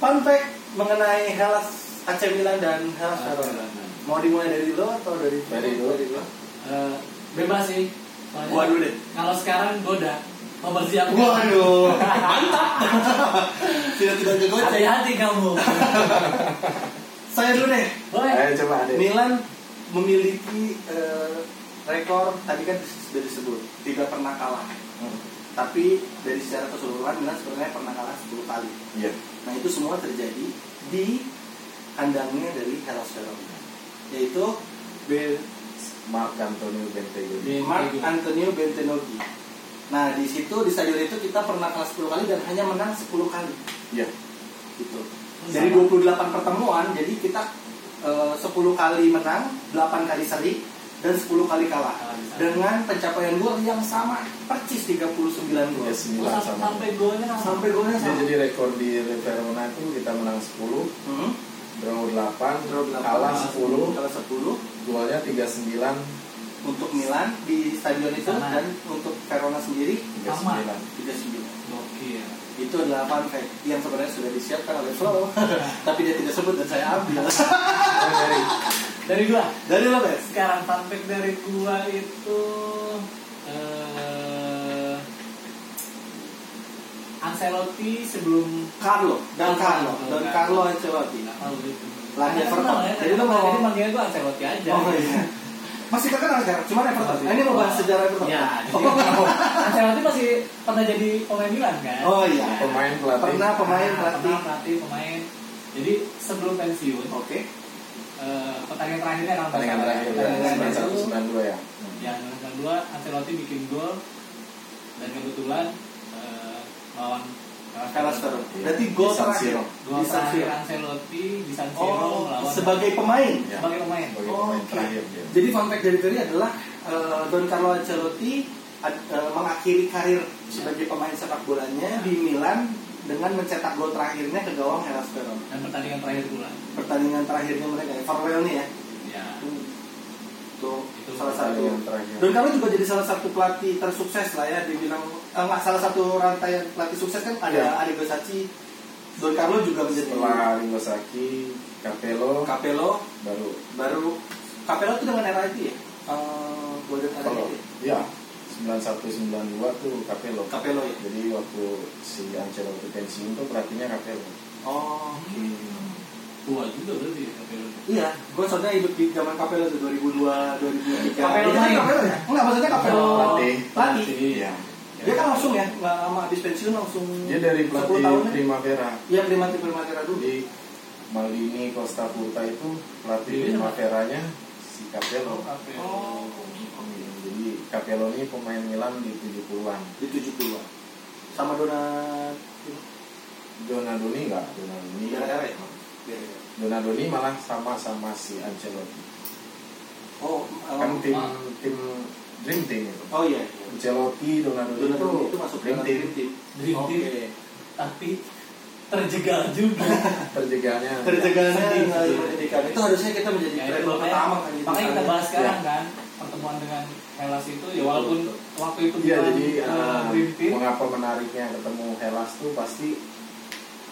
[SPEAKER 1] Fun Fact mengenai Hellas AC Milan dan Hellas Verona. Mau dimulai dari lo atau dari
[SPEAKER 2] Dari lo.
[SPEAKER 3] Eh, bebas sih. Soalnya
[SPEAKER 1] Gua dulu deh.
[SPEAKER 3] Kalau sekarang goda, mempersiapkan.
[SPEAKER 1] Waduh, mantap. Tidak tidak kegoceng.
[SPEAKER 3] Hati-hati kamu.
[SPEAKER 1] Saya dulu deh. Eh,
[SPEAKER 3] Boleh.
[SPEAKER 2] Ayo coba deh.
[SPEAKER 1] Milan memiliki eh, rekor tadi kan sudah disebut tidak pernah kalah.
[SPEAKER 2] Hmm.
[SPEAKER 1] Tapi dari secara keseluruhan Milan sebenarnya pernah kalah 10 kali.
[SPEAKER 2] Iya.
[SPEAKER 1] Nah itu semua terjadi di kandangnya dari Hellas Verona, yaitu Ber-
[SPEAKER 2] Mark Antonio Bentancur.
[SPEAKER 3] Bentancur.
[SPEAKER 1] Mark Antonio Bentenogi. Nah di situ di stadion itu kita pernah kalah 10 kali dan hanya menang 10 kali
[SPEAKER 2] Iya.
[SPEAKER 1] gitu. Dari 28 pertemuan jadi kita eh, 10 kali menang, 8 kali seri dan 10 kali kalah
[SPEAKER 3] Kalah di sana.
[SPEAKER 1] dengan pencapaian gol yang sama persis 39 gol.
[SPEAKER 2] Dia
[SPEAKER 3] Oh,
[SPEAKER 2] sembilan
[SPEAKER 3] sam-
[SPEAKER 2] sama.
[SPEAKER 3] Sampai golnya sama.
[SPEAKER 1] Sampai golnya
[SPEAKER 2] Dia
[SPEAKER 1] sama.
[SPEAKER 2] jadi rekor di Verona itu kita menang 10,
[SPEAKER 1] Hmm,
[SPEAKER 2] draw 8,
[SPEAKER 1] draw delapan,
[SPEAKER 2] kalah 10,
[SPEAKER 1] kalah 10.
[SPEAKER 2] golnya 39,
[SPEAKER 1] untuk Milan di stadion itu
[SPEAKER 3] Sama.
[SPEAKER 1] dan untuk Verona sendiri
[SPEAKER 2] 39.
[SPEAKER 1] 39.
[SPEAKER 3] Gokil.
[SPEAKER 1] Itu adalah fun fact yang sebenarnya sudah disiapkan oleh Flo, tapi dia tidak sebut dan saya ambil.
[SPEAKER 2] Oh, dari
[SPEAKER 3] Dari gua.
[SPEAKER 1] Dari lo guys,
[SPEAKER 3] Sekarang fun fact dari gua itu eh Ancelotti sebelum
[SPEAKER 1] Carlo, dan Carlo,
[SPEAKER 3] Carlo.
[SPEAKER 1] dan Carlo Ancelotti.
[SPEAKER 3] Nggak tahu itu.
[SPEAKER 1] Lah,
[SPEAKER 3] Karena
[SPEAKER 1] Everton.
[SPEAKER 3] kenal ya,
[SPEAKER 1] Jadi lu mau-
[SPEAKER 3] Jadi manggilnya gua Ancelotti aja.
[SPEAKER 1] Oh iya. Masih terkenal sekarang, cuma Everton. Nah, ini mau bahas sejarah Everton.
[SPEAKER 3] Ya, jadi
[SPEAKER 1] Oh,
[SPEAKER 3] Ancelotti masih pernah jadi pemain Milan kan?
[SPEAKER 1] Oh, iya.
[SPEAKER 2] pemain pelatih.
[SPEAKER 1] pernah pemain
[SPEAKER 3] Pernah
[SPEAKER 1] pelatih.
[SPEAKER 3] pelatih, pemain. Jadi sebelum pensiun,
[SPEAKER 1] Oke.
[SPEAKER 3] eh, pertandingan terakhirnya kan
[SPEAKER 2] Pertandingan terakhir ya,
[SPEAKER 1] Pertandingan terakhir.
[SPEAKER 2] 91 92 ya.
[SPEAKER 3] yang kedua Ancelotti bikin gol dan kebetulan eh, lawan
[SPEAKER 1] Carlos
[SPEAKER 3] Verona.
[SPEAKER 1] Verona.
[SPEAKER 2] Iya.
[SPEAKER 1] Berarti gol
[SPEAKER 2] Di San
[SPEAKER 1] terakhir
[SPEAKER 2] Siro.
[SPEAKER 3] Gol
[SPEAKER 1] di San
[SPEAKER 3] terakhir
[SPEAKER 1] Siro.
[SPEAKER 3] Ancelotti di San Siro
[SPEAKER 1] Oh,
[SPEAKER 3] lawan
[SPEAKER 1] sebagai pemain.
[SPEAKER 2] Ya.
[SPEAKER 3] sebagai pemain.
[SPEAKER 2] Sebagai
[SPEAKER 1] Oh,
[SPEAKER 2] pemain
[SPEAKER 1] oke.
[SPEAKER 2] terakhir dia.
[SPEAKER 1] Jadi fun fact dari tadi adalah eh, Don Carlo Ancelotti ad- eh, mengakhiri karir sebagai pemain sepak bolanya di Milan dengan mencetak gol terakhirnya ke gawang Hellas Verona.
[SPEAKER 3] Dan pertandingan terakhir pula.
[SPEAKER 1] Pertandingan terakhirnya mereka ya, farewell nih ya.
[SPEAKER 3] Ya.
[SPEAKER 1] Itu,
[SPEAKER 3] Itu
[SPEAKER 1] salah satu.
[SPEAKER 2] Pertandingan terakhir.
[SPEAKER 1] Don Carlo juga jadi salah satu pelatih tersukses lah ya dibilang eh, nggak salah satu rantaian pelatih sukses kan ada
[SPEAKER 2] Ya.
[SPEAKER 1] Arrigo Sacchi, Don Carlo juga menjadi
[SPEAKER 2] setelah Iwasaki Capello
[SPEAKER 1] Capello
[SPEAKER 2] baru
[SPEAKER 1] baru Capello itu dengan era itu ya Eh, Golden Era
[SPEAKER 2] Capello
[SPEAKER 1] itu ya?
[SPEAKER 2] ya 91 92 tuh Capello
[SPEAKER 1] Capello ya
[SPEAKER 2] jadi waktu si Ancelotti pensiun tuh pelatihnya Capello
[SPEAKER 1] oh
[SPEAKER 2] Hmm.
[SPEAKER 3] Tua juga berarti ya, Capello.
[SPEAKER 1] Iya, gue soalnya hidup di zaman Capello tuh 2002, 2003.
[SPEAKER 3] Capello
[SPEAKER 1] Iya,
[SPEAKER 3] main?
[SPEAKER 1] Capello ya? Enggak, maksudnya Capello
[SPEAKER 3] Oh,
[SPEAKER 2] pelatih.
[SPEAKER 1] pelatih.
[SPEAKER 2] iya
[SPEAKER 1] Dia kan langsung ya, nggak sama habis pensiun langsung.
[SPEAKER 2] dia dari
[SPEAKER 1] 10 tahun
[SPEAKER 2] pelatih Iya.
[SPEAKER 1] ya?
[SPEAKER 2] Primavera
[SPEAKER 1] Iya, primati primavera dulu.
[SPEAKER 2] jadi Maldini Costa Curta itu pelatih
[SPEAKER 3] Iya.
[SPEAKER 2] Primaveranya si Capello
[SPEAKER 3] Capello.
[SPEAKER 1] Oh.
[SPEAKER 2] Iya, jadi Capello ini pemain Milan di 70-an
[SPEAKER 1] Di 70-an. Sama Donat
[SPEAKER 2] Donadoni enggak Donadoni
[SPEAKER 1] Era-era ya? Beda-beda.
[SPEAKER 2] Donadoni malah sama sama si Ancelotti
[SPEAKER 1] Oh,
[SPEAKER 2] kan
[SPEAKER 1] um,
[SPEAKER 2] tim
[SPEAKER 3] ah.
[SPEAKER 2] tim dream team itu
[SPEAKER 1] oh iya.
[SPEAKER 2] Ancelotti Donadoni
[SPEAKER 1] Donat
[SPEAKER 2] itu,
[SPEAKER 1] itu masuk ke
[SPEAKER 2] dream
[SPEAKER 1] dalam
[SPEAKER 2] team
[SPEAKER 1] tim tim.
[SPEAKER 3] Dream Team,
[SPEAKER 1] Oke.
[SPEAKER 3] tapi terjegal juga.
[SPEAKER 2] terjegalnya
[SPEAKER 1] Terjaganya
[SPEAKER 3] Sedih,
[SPEAKER 1] nggak
[SPEAKER 3] sedih.
[SPEAKER 1] menjadikan itu harusnya kita menjadi
[SPEAKER 3] Ya, itu
[SPEAKER 1] travel
[SPEAKER 3] makanya-
[SPEAKER 1] pertama kan gitu.
[SPEAKER 3] Makanya kita bahas
[SPEAKER 2] Ya.
[SPEAKER 3] sekarang kan pertemuan dengan Hellas itu ya walaupun waktu itu
[SPEAKER 2] Iya
[SPEAKER 3] bukan,
[SPEAKER 2] jadi
[SPEAKER 3] eh,
[SPEAKER 2] eh,
[SPEAKER 3] Dream Team.
[SPEAKER 2] mengapa menariknya ketemu Hellas tuh pasti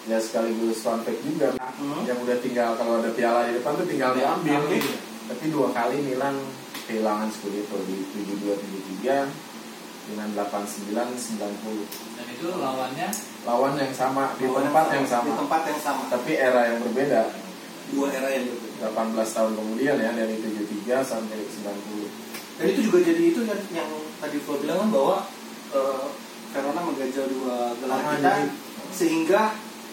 [SPEAKER 2] ya sekaligus fun fact juga
[SPEAKER 1] Hmm.
[SPEAKER 2] yang udah tinggal kalau ada piala di depan tuh tinggal diambil
[SPEAKER 1] Ambil.
[SPEAKER 2] tapi dua kali Milan kehilangan Scudetto di 72 73 dengan 89 90
[SPEAKER 3] Dan itu lawannya
[SPEAKER 2] lawan yang sama di
[SPEAKER 1] Lawan
[SPEAKER 2] tempat yang sama
[SPEAKER 1] Di tempat yang sama.
[SPEAKER 2] tapi era yang berbeda
[SPEAKER 1] Dua era yang berbeda.
[SPEAKER 2] 18 tahun kemudian ya dari 73 sampai 90
[SPEAKER 1] Dan itu juga jadi itu yang, yang tadi Flo bilang kan bahwa eh, Verona mengganjal dua gelar
[SPEAKER 2] Ah,
[SPEAKER 1] kita
[SPEAKER 2] jadi-
[SPEAKER 1] sehingga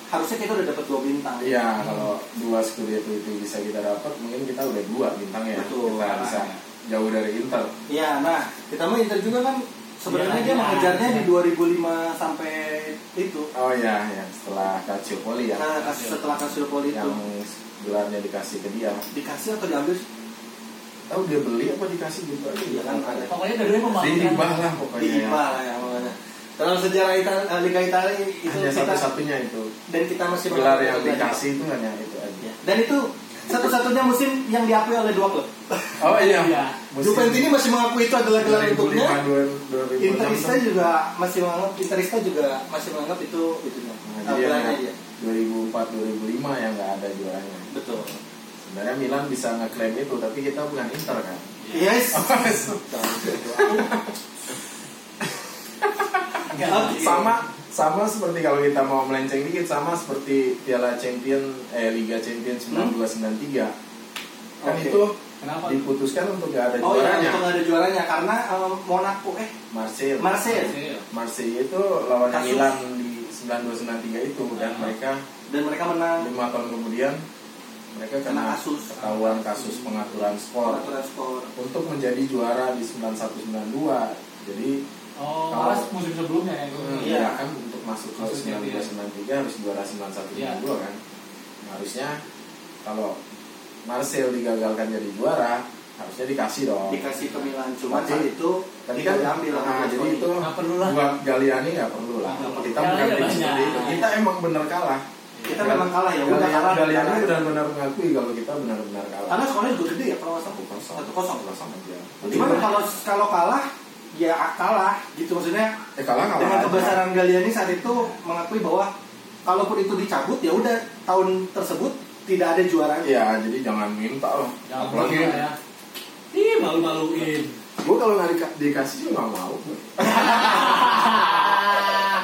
[SPEAKER 1] harusnya kita udah dapat dua bintang.
[SPEAKER 2] Iya, kalau dua Scudetto itu bisa kita dapat, mungkin kita udah dua bintangnya. ya.
[SPEAKER 1] Betul.
[SPEAKER 2] Kita bisa jauh dari Inter.
[SPEAKER 1] Iya, nah kita mah Inter juga kan sebenarnya
[SPEAKER 3] Iya,
[SPEAKER 1] dia
[SPEAKER 3] iya.
[SPEAKER 1] mengejarnya di 2005 sampai itu.
[SPEAKER 2] Oh iya, ya setelah Calciopoli ya,
[SPEAKER 1] Nah, kas- setelah kasus Poli itu
[SPEAKER 2] yang gelarnya dikasih ke dia.
[SPEAKER 1] dikasih atau diambil
[SPEAKER 2] Oh, Tahu dia beli apa dikasih gitu aja
[SPEAKER 1] Iya kan, ada.
[SPEAKER 3] pokoknya dua-duanya memalukan.
[SPEAKER 2] Dihibah lah pokoknya. ya.
[SPEAKER 1] diimbal ya pokoknya. Dalam sejarah Ita- eh, Liga Italia itu
[SPEAKER 2] Hanya
[SPEAKER 1] kita
[SPEAKER 2] satu-satunya itu
[SPEAKER 1] dan kita masih
[SPEAKER 2] gelar
[SPEAKER 1] mengaku
[SPEAKER 2] yang
[SPEAKER 1] sebagai-
[SPEAKER 2] dikasih itu hanya itu aja.
[SPEAKER 1] Ya. Dan itu satu-satunya musim yang diakui oleh dua klub.
[SPEAKER 2] Oh iya,
[SPEAKER 3] Iya.
[SPEAKER 1] Juventus ini masih mengakui itu adalah gelar untuknya.
[SPEAKER 2] 2005
[SPEAKER 1] Interista
[SPEAKER 2] 2006
[SPEAKER 1] juga masih menganggap Interista juga masih menganggap itu itu
[SPEAKER 2] Nah, jadi yang
[SPEAKER 1] tabelanya aja.
[SPEAKER 2] 2004 2005 yang ya, nggak ada juaranya.
[SPEAKER 1] Betul.
[SPEAKER 2] Sebenarnya Milan bisa ngeklaim itu, tapi kita bukan Inter kan.
[SPEAKER 3] Iya.
[SPEAKER 1] Yes.
[SPEAKER 3] Enggak.
[SPEAKER 1] Oke.
[SPEAKER 2] sama sama seperti kalau kita mau melenceng dikit sama seperti Piala Champion eh Liga Champion 9293 kan
[SPEAKER 1] Oke.
[SPEAKER 2] itu
[SPEAKER 3] Kenapa?
[SPEAKER 2] diputuskan untuk gak ada
[SPEAKER 1] Oh iya,
[SPEAKER 2] juaranya
[SPEAKER 1] untuk nggak ada juaranya karena em, Monaco eh
[SPEAKER 2] Marseille
[SPEAKER 1] Marseille
[SPEAKER 2] Marseille itu lawan
[SPEAKER 1] Kasus.
[SPEAKER 2] Milan di 9293 itu dan
[SPEAKER 3] Ah.
[SPEAKER 2] mereka
[SPEAKER 1] dan mereka menang
[SPEAKER 2] lima tahun kemudian mereka
[SPEAKER 1] Kena
[SPEAKER 2] kena
[SPEAKER 1] kasus.
[SPEAKER 2] ketahuan kasus pengaturan skor
[SPEAKER 1] peraturan skor.
[SPEAKER 2] untuk menjadi juara di 9192 jadi
[SPEAKER 3] Oh,
[SPEAKER 2] Kalau-
[SPEAKER 3] malah musim sebelumnya ya. itu.
[SPEAKER 2] Hmm,
[SPEAKER 1] Iya.
[SPEAKER 2] iya kan untuk masuk ke
[SPEAKER 3] Maksudnya
[SPEAKER 2] 1993 harus juara 91
[SPEAKER 3] Iya.
[SPEAKER 2] 92 kan. Nah, harusnya kalau Marcel digagalkan jadi juara, harusnya dikasih dong.
[SPEAKER 1] Dikasih ke Milan cuman
[SPEAKER 2] Tapi-
[SPEAKER 1] saat itu
[SPEAKER 2] Tapi kan
[SPEAKER 1] tidak diambil sama
[SPEAKER 2] ah, jadi
[SPEAKER 1] Berlusconi.
[SPEAKER 2] itu
[SPEAKER 3] Nggak perlu lah.
[SPEAKER 2] buat Galiani nggak perlu lah.
[SPEAKER 3] Nggak perlu.
[SPEAKER 2] Kita bukan
[SPEAKER 3] Galiani
[SPEAKER 2] tim
[SPEAKER 3] banyak.
[SPEAKER 2] seperti itu. Kita emang bener kalah.
[SPEAKER 1] kita memang kalah ya udah
[SPEAKER 2] Galiani,
[SPEAKER 1] kalah.
[SPEAKER 2] Galiani
[SPEAKER 1] kalah.
[SPEAKER 2] benar-benar mengakui kalau kita benar-benar kalah.
[SPEAKER 1] Karena skornya juga gede ya kalau satu
[SPEAKER 2] kosong.
[SPEAKER 1] satu kosong.
[SPEAKER 2] kosong aja.
[SPEAKER 1] Cuman kalau kalau kalah ya kalah gitu maksudnya
[SPEAKER 2] eh, kalah kalah.
[SPEAKER 1] dengan
[SPEAKER 2] aja.
[SPEAKER 1] kebesaran Galiani saat itu mengakui bahwa kalaupun itu dicabut ya udah tahun tersebut tidak ada juaranya.
[SPEAKER 2] Iya, jadi jangan minta lah.
[SPEAKER 3] Jangan
[SPEAKER 2] Apalagi
[SPEAKER 3] malu ya. Ih, malu-maluin.
[SPEAKER 2] gue kalau nggak dika- dikasih juga nggak mau.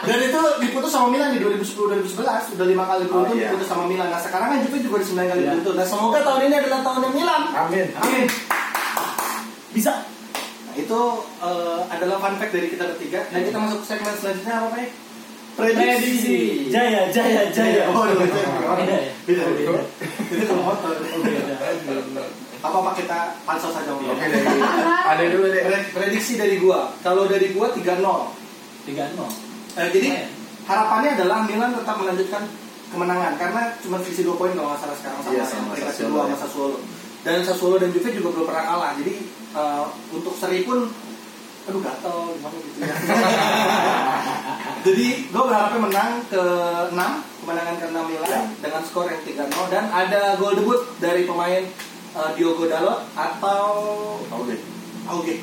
[SPEAKER 1] Dan itu diputus sama Milan di 2010-2011 udah lima kali beruntun
[SPEAKER 2] Oh, iya.
[SPEAKER 1] diputus sama Milan. Nah sekarang kan Juve juga di sembilan kali
[SPEAKER 3] Iya.
[SPEAKER 1] beruntun. Nah semoga tahun ini adalah tahunnya Milan.
[SPEAKER 2] Amin.
[SPEAKER 1] Amin.
[SPEAKER 3] Bisa.
[SPEAKER 1] Nah itu eh, adalah fun fact dari kita bertiga. Dan kita masuk ke segmen selanjutnya apa Pak?
[SPEAKER 3] Prediksi. Jaya, jaya, jaya.
[SPEAKER 1] Oh, aduh, itu yang
[SPEAKER 3] Beda ya?
[SPEAKER 1] beda, beda. Itu kalau motor.
[SPEAKER 3] Beda.
[SPEAKER 1] Apa apa kita pansos saja Om?
[SPEAKER 2] Oke dari ada dulu deh.
[SPEAKER 1] Pre- Prediksi dari gua. Kalau dari gua 3-0.
[SPEAKER 3] 3-0.
[SPEAKER 1] Eh, jadi harapannya adalah Milan tetap melanjutkan kemenangan karena cuma selisih 2 poin kalau nggak salah sekarang sama
[SPEAKER 2] Iya,
[SPEAKER 1] yang
[SPEAKER 2] sama
[SPEAKER 1] peringkat
[SPEAKER 2] Sassuolo
[SPEAKER 1] kedua
[SPEAKER 2] ya.
[SPEAKER 1] sama Sassuolo. Dan Sassuolo dan Juve juga belum pernah kalah. Jadi eh, untuk seri pun aduh gatel gimana gitu ya. jadi gua berharapnya menang ke 6, kemenangan ke 6 Milan
[SPEAKER 2] Ya.
[SPEAKER 1] dengan skor yang 3-0 dan ada gol debut dari pemain eh, Diogo Dalot atau
[SPEAKER 2] Oke.
[SPEAKER 1] Oke,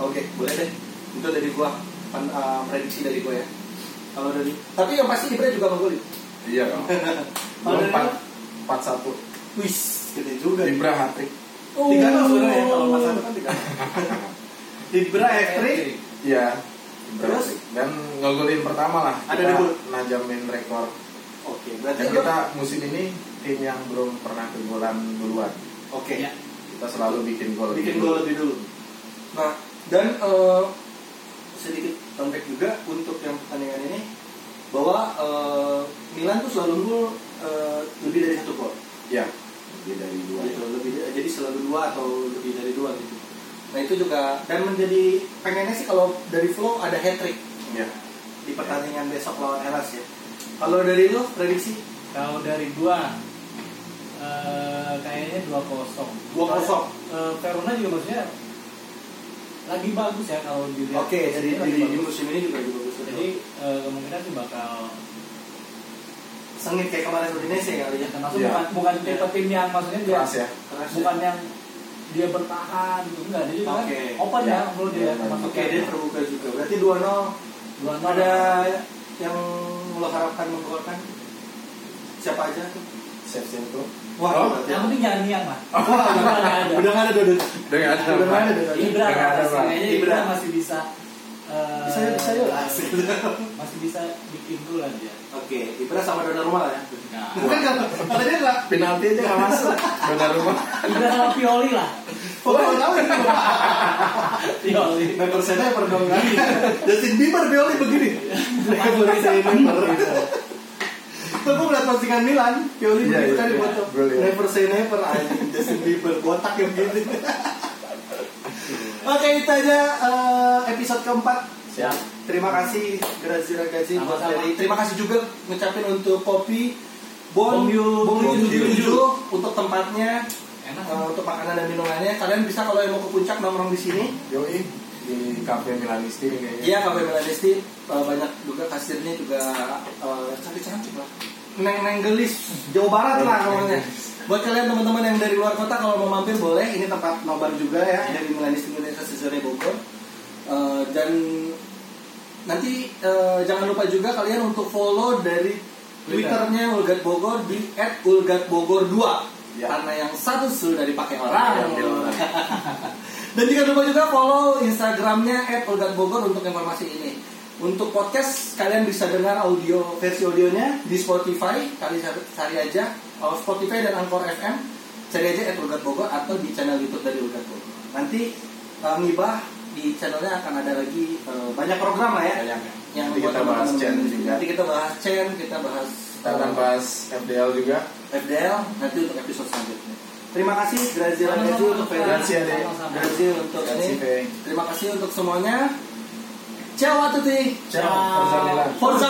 [SPEAKER 1] oke, boleh deh. Itu dari gua, pen- eh, prediksi dari gua ya. Kalau dari, tapi yang pasti Ibra juga menggolin.
[SPEAKER 2] Iya dong.
[SPEAKER 1] Kalau dari
[SPEAKER 2] Empat
[SPEAKER 1] lo?
[SPEAKER 2] empat satu.
[SPEAKER 1] Wis, gede juga.
[SPEAKER 2] Libra Hattrick.
[SPEAKER 1] Tiga nol sebenarnya kalau pas satu kan tiga. nol. Libra hat-trick.
[SPEAKER 2] Iya. Libra
[SPEAKER 1] Terus?
[SPEAKER 2] Hattrick. Dan ngegolin pertama lah.
[SPEAKER 1] Ada
[SPEAKER 2] Kita
[SPEAKER 1] debut.
[SPEAKER 2] najamin rekor.
[SPEAKER 1] Oke, berarti
[SPEAKER 2] Dan
[SPEAKER 1] lo-
[SPEAKER 2] kita musim ini tim yang belum pernah kegolan duluan.
[SPEAKER 1] Oke,
[SPEAKER 3] Ya.
[SPEAKER 2] Kita selalu bikin gol.
[SPEAKER 1] bikin
[SPEAKER 2] dulu.
[SPEAKER 1] gol lebih dulu. Nah, dan eh, sedikit comeback juga untuk yang pertandingan ini bahwa eh, Milan tuh selalu unggul eh, lebih dari satu gol.
[SPEAKER 2] Iya. Lebih dari dua.
[SPEAKER 1] gitu lebih jadi selalu dua atau lebih dari dua gitu nah itu juga dan menjadi pengennya sih kalau dari flow ada hat trick
[SPEAKER 2] Iya.
[SPEAKER 1] di pertandingan besok lawan Hellas ya kalau dari lu prediksi
[SPEAKER 3] Kalau dari gua eh, kayaknya 2-0.
[SPEAKER 1] 2-0.
[SPEAKER 3] Eh, Verona juga maksudnya lagi bagus ya kalau dilihat.
[SPEAKER 1] oke jadi
[SPEAKER 3] Lagi
[SPEAKER 1] di, di
[SPEAKER 3] bagus.
[SPEAKER 1] musim ini juga juga bagus
[SPEAKER 3] Jadi
[SPEAKER 1] jadi
[SPEAKER 3] eh, kemungkinan sih bakal
[SPEAKER 1] sengit kayak kemarin Udinese ya kali ya
[SPEAKER 3] ya termasuk
[SPEAKER 2] Iya.
[SPEAKER 3] bukan bukan tipe tim yang maksudnya dia
[SPEAKER 2] Keras ya.
[SPEAKER 1] keras ya.
[SPEAKER 3] bukan yang dia bertahan gitu enggak. Jadi bahkan
[SPEAKER 1] Oke.
[SPEAKER 3] open
[SPEAKER 2] Iya.
[SPEAKER 3] ya menurut dia
[SPEAKER 2] Iya,
[SPEAKER 3] termasuk ya.
[SPEAKER 1] oke dia terbuka juga berarti 2-0
[SPEAKER 3] dua
[SPEAKER 1] ada yang lo harapkan menggolkan siapa aja tuh
[SPEAKER 2] Shevchenko.
[SPEAKER 1] wah
[SPEAKER 2] Oh,
[SPEAKER 1] berarti-
[SPEAKER 3] Yang penting jangan niang lah.
[SPEAKER 1] wah udah nggak ada Eh, udah nggak ada Dodot.
[SPEAKER 2] Dengan
[SPEAKER 1] udah nggak ada Dodot.
[SPEAKER 3] Ibra
[SPEAKER 2] Nggak ada, Pak.
[SPEAKER 3] kayaknya
[SPEAKER 1] Ibra.
[SPEAKER 3] Ibra masih bisa eh,
[SPEAKER 1] bisa bisa yuk asik
[SPEAKER 3] masih bisa bikin gol lah dia.
[SPEAKER 1] oke Ibra sama Donnarumma ya
[SPEAKER 3] Nah,
[SPEAKER 1] Bukan kalau kalau dia nggak
[SPEAKER 2] Penalti aja nggak masuk. Benar rumah.
[SPEAKER 3] Ibra sama Pioli lah.
[SPEAKER 1] pokoknya tahu ini
[SPEAKER 3] Pioli.
[SPEAKER 1] member saya per dong kan. Justin Bieber Bioli begini. Mereka boleh saya member. Tuh gue ngeliat postingan Milan, Pioli
[SPEAKER 2] Iya,
[SPEAKER 1] begitu
[SPEAKER 2] iya,
[SPEAKER 1] kan
[SPEAKER 2] iya.
[SPEAKER 1] foto.
[SPEAKER 2] Gue liat.
[SPEAKER 1] Never say never anjing Justin Bieber botak yang gitu. Oke itu aja eh, episode keempat.
[SPEAKER 2] Siap.
[SPEAKER 1] Terima kasih Grazi Ragazzi buat
[SPEAKER 3] Sama-sama.
[SPEAKER 1] Ferry. Terima kasih juga ngucapin untuk Poppy Bon
[SPEAKER 3] Bong Yu.
[SPEAKER 1] Bong Yu
[SPEAKER 2] Bong Yu.
[SPEAKER 1] 77 untuk tempatnya
[SPEAKER 3] Enak.
[SPEAKER 1] eh, untuk makanan dan minumannya. Kalian bisa kalau yang mau ke puncak nongkrong di sini.
[SPEAKER 2] Yoi di kafe Milanisti nih kayaknya.
[SPEAKER 1] Iya, Cafe Melanisti uh, banyak juga kasirnya juga uh, cantik-cantik lah. Neng-neng gelis, Jawa Barat lah namanya. Buat kalian teman-teman yang dari luar kota kalau mau mampir boleh, ini tempat nobar juga ya dari Melanisti Universitas Sejarah Bogor. Uh, dan nanti uh, jangan lupa juga kalian untuk follow dari
[SPEAKER 3] Twitter.
[SPEAKER 1] Twitternya Ulgat Bogor di @ulgatbogor2
[SPEAKER 2] Ya.
[SPEAKER 1] karena yang satu sudah dipakai orang.
[SPEAKER 2] Diambil Iya, orang.
[SPEAKER 1] Dan jangan lupa juga follow Instagramnya @ulgatbogor untuk informasi ini. Untuk podcast kalian bisa dengar audio versi audionya di Spotify. Kalian cari, cari aja uh, Spotify dan Anchor FM. Cari aja @ulgatbogor atau di channel YouTube dari Ulgat Bogor. Nanti uh, ngibah di channelnya akan ada lagi uh, banyak program lah ya.
[SPEAKER 2] Kayaknya.
[SPEAKER 1] Yang
[SPEAKER 2] Iya. Nanti
[SPEAKER 1] buat
[SPEAKER 2] kita bahas
[SPEAKER 1] teman-teman.
[SPEAKER 2] Chen juga.
[SPEAKER 1] Nanti kita bahas Chen, kita bahas uh,
[SPEAKER 2] Kita akan bahas FDL juga.
[SPEAKER 1] FDL nanti untuk episode selanjutnya. Terima kasih Grazia
[SPEAKER 3] Sama-sama,
[SPEAKER 1] Ragazzi untuk
[SPEAKER 3] Pak.
[SPEAKER 1] Federasi.
[SPEAKER 2] Ade.
[SPEAKER 3] Sama-sama.
[SPEAKER 1] Grazia untuk
[SPEAKER 2] Kasih
[SPEAKER 1] ini.
[SPEAKER 2] Feng.
[SPEAKER 1] Terima kasih untuk semuanya. Ciao a tutti.
[SPEAKER 2] Ciao. Forza Milan.
[SPEAKER 1] Forza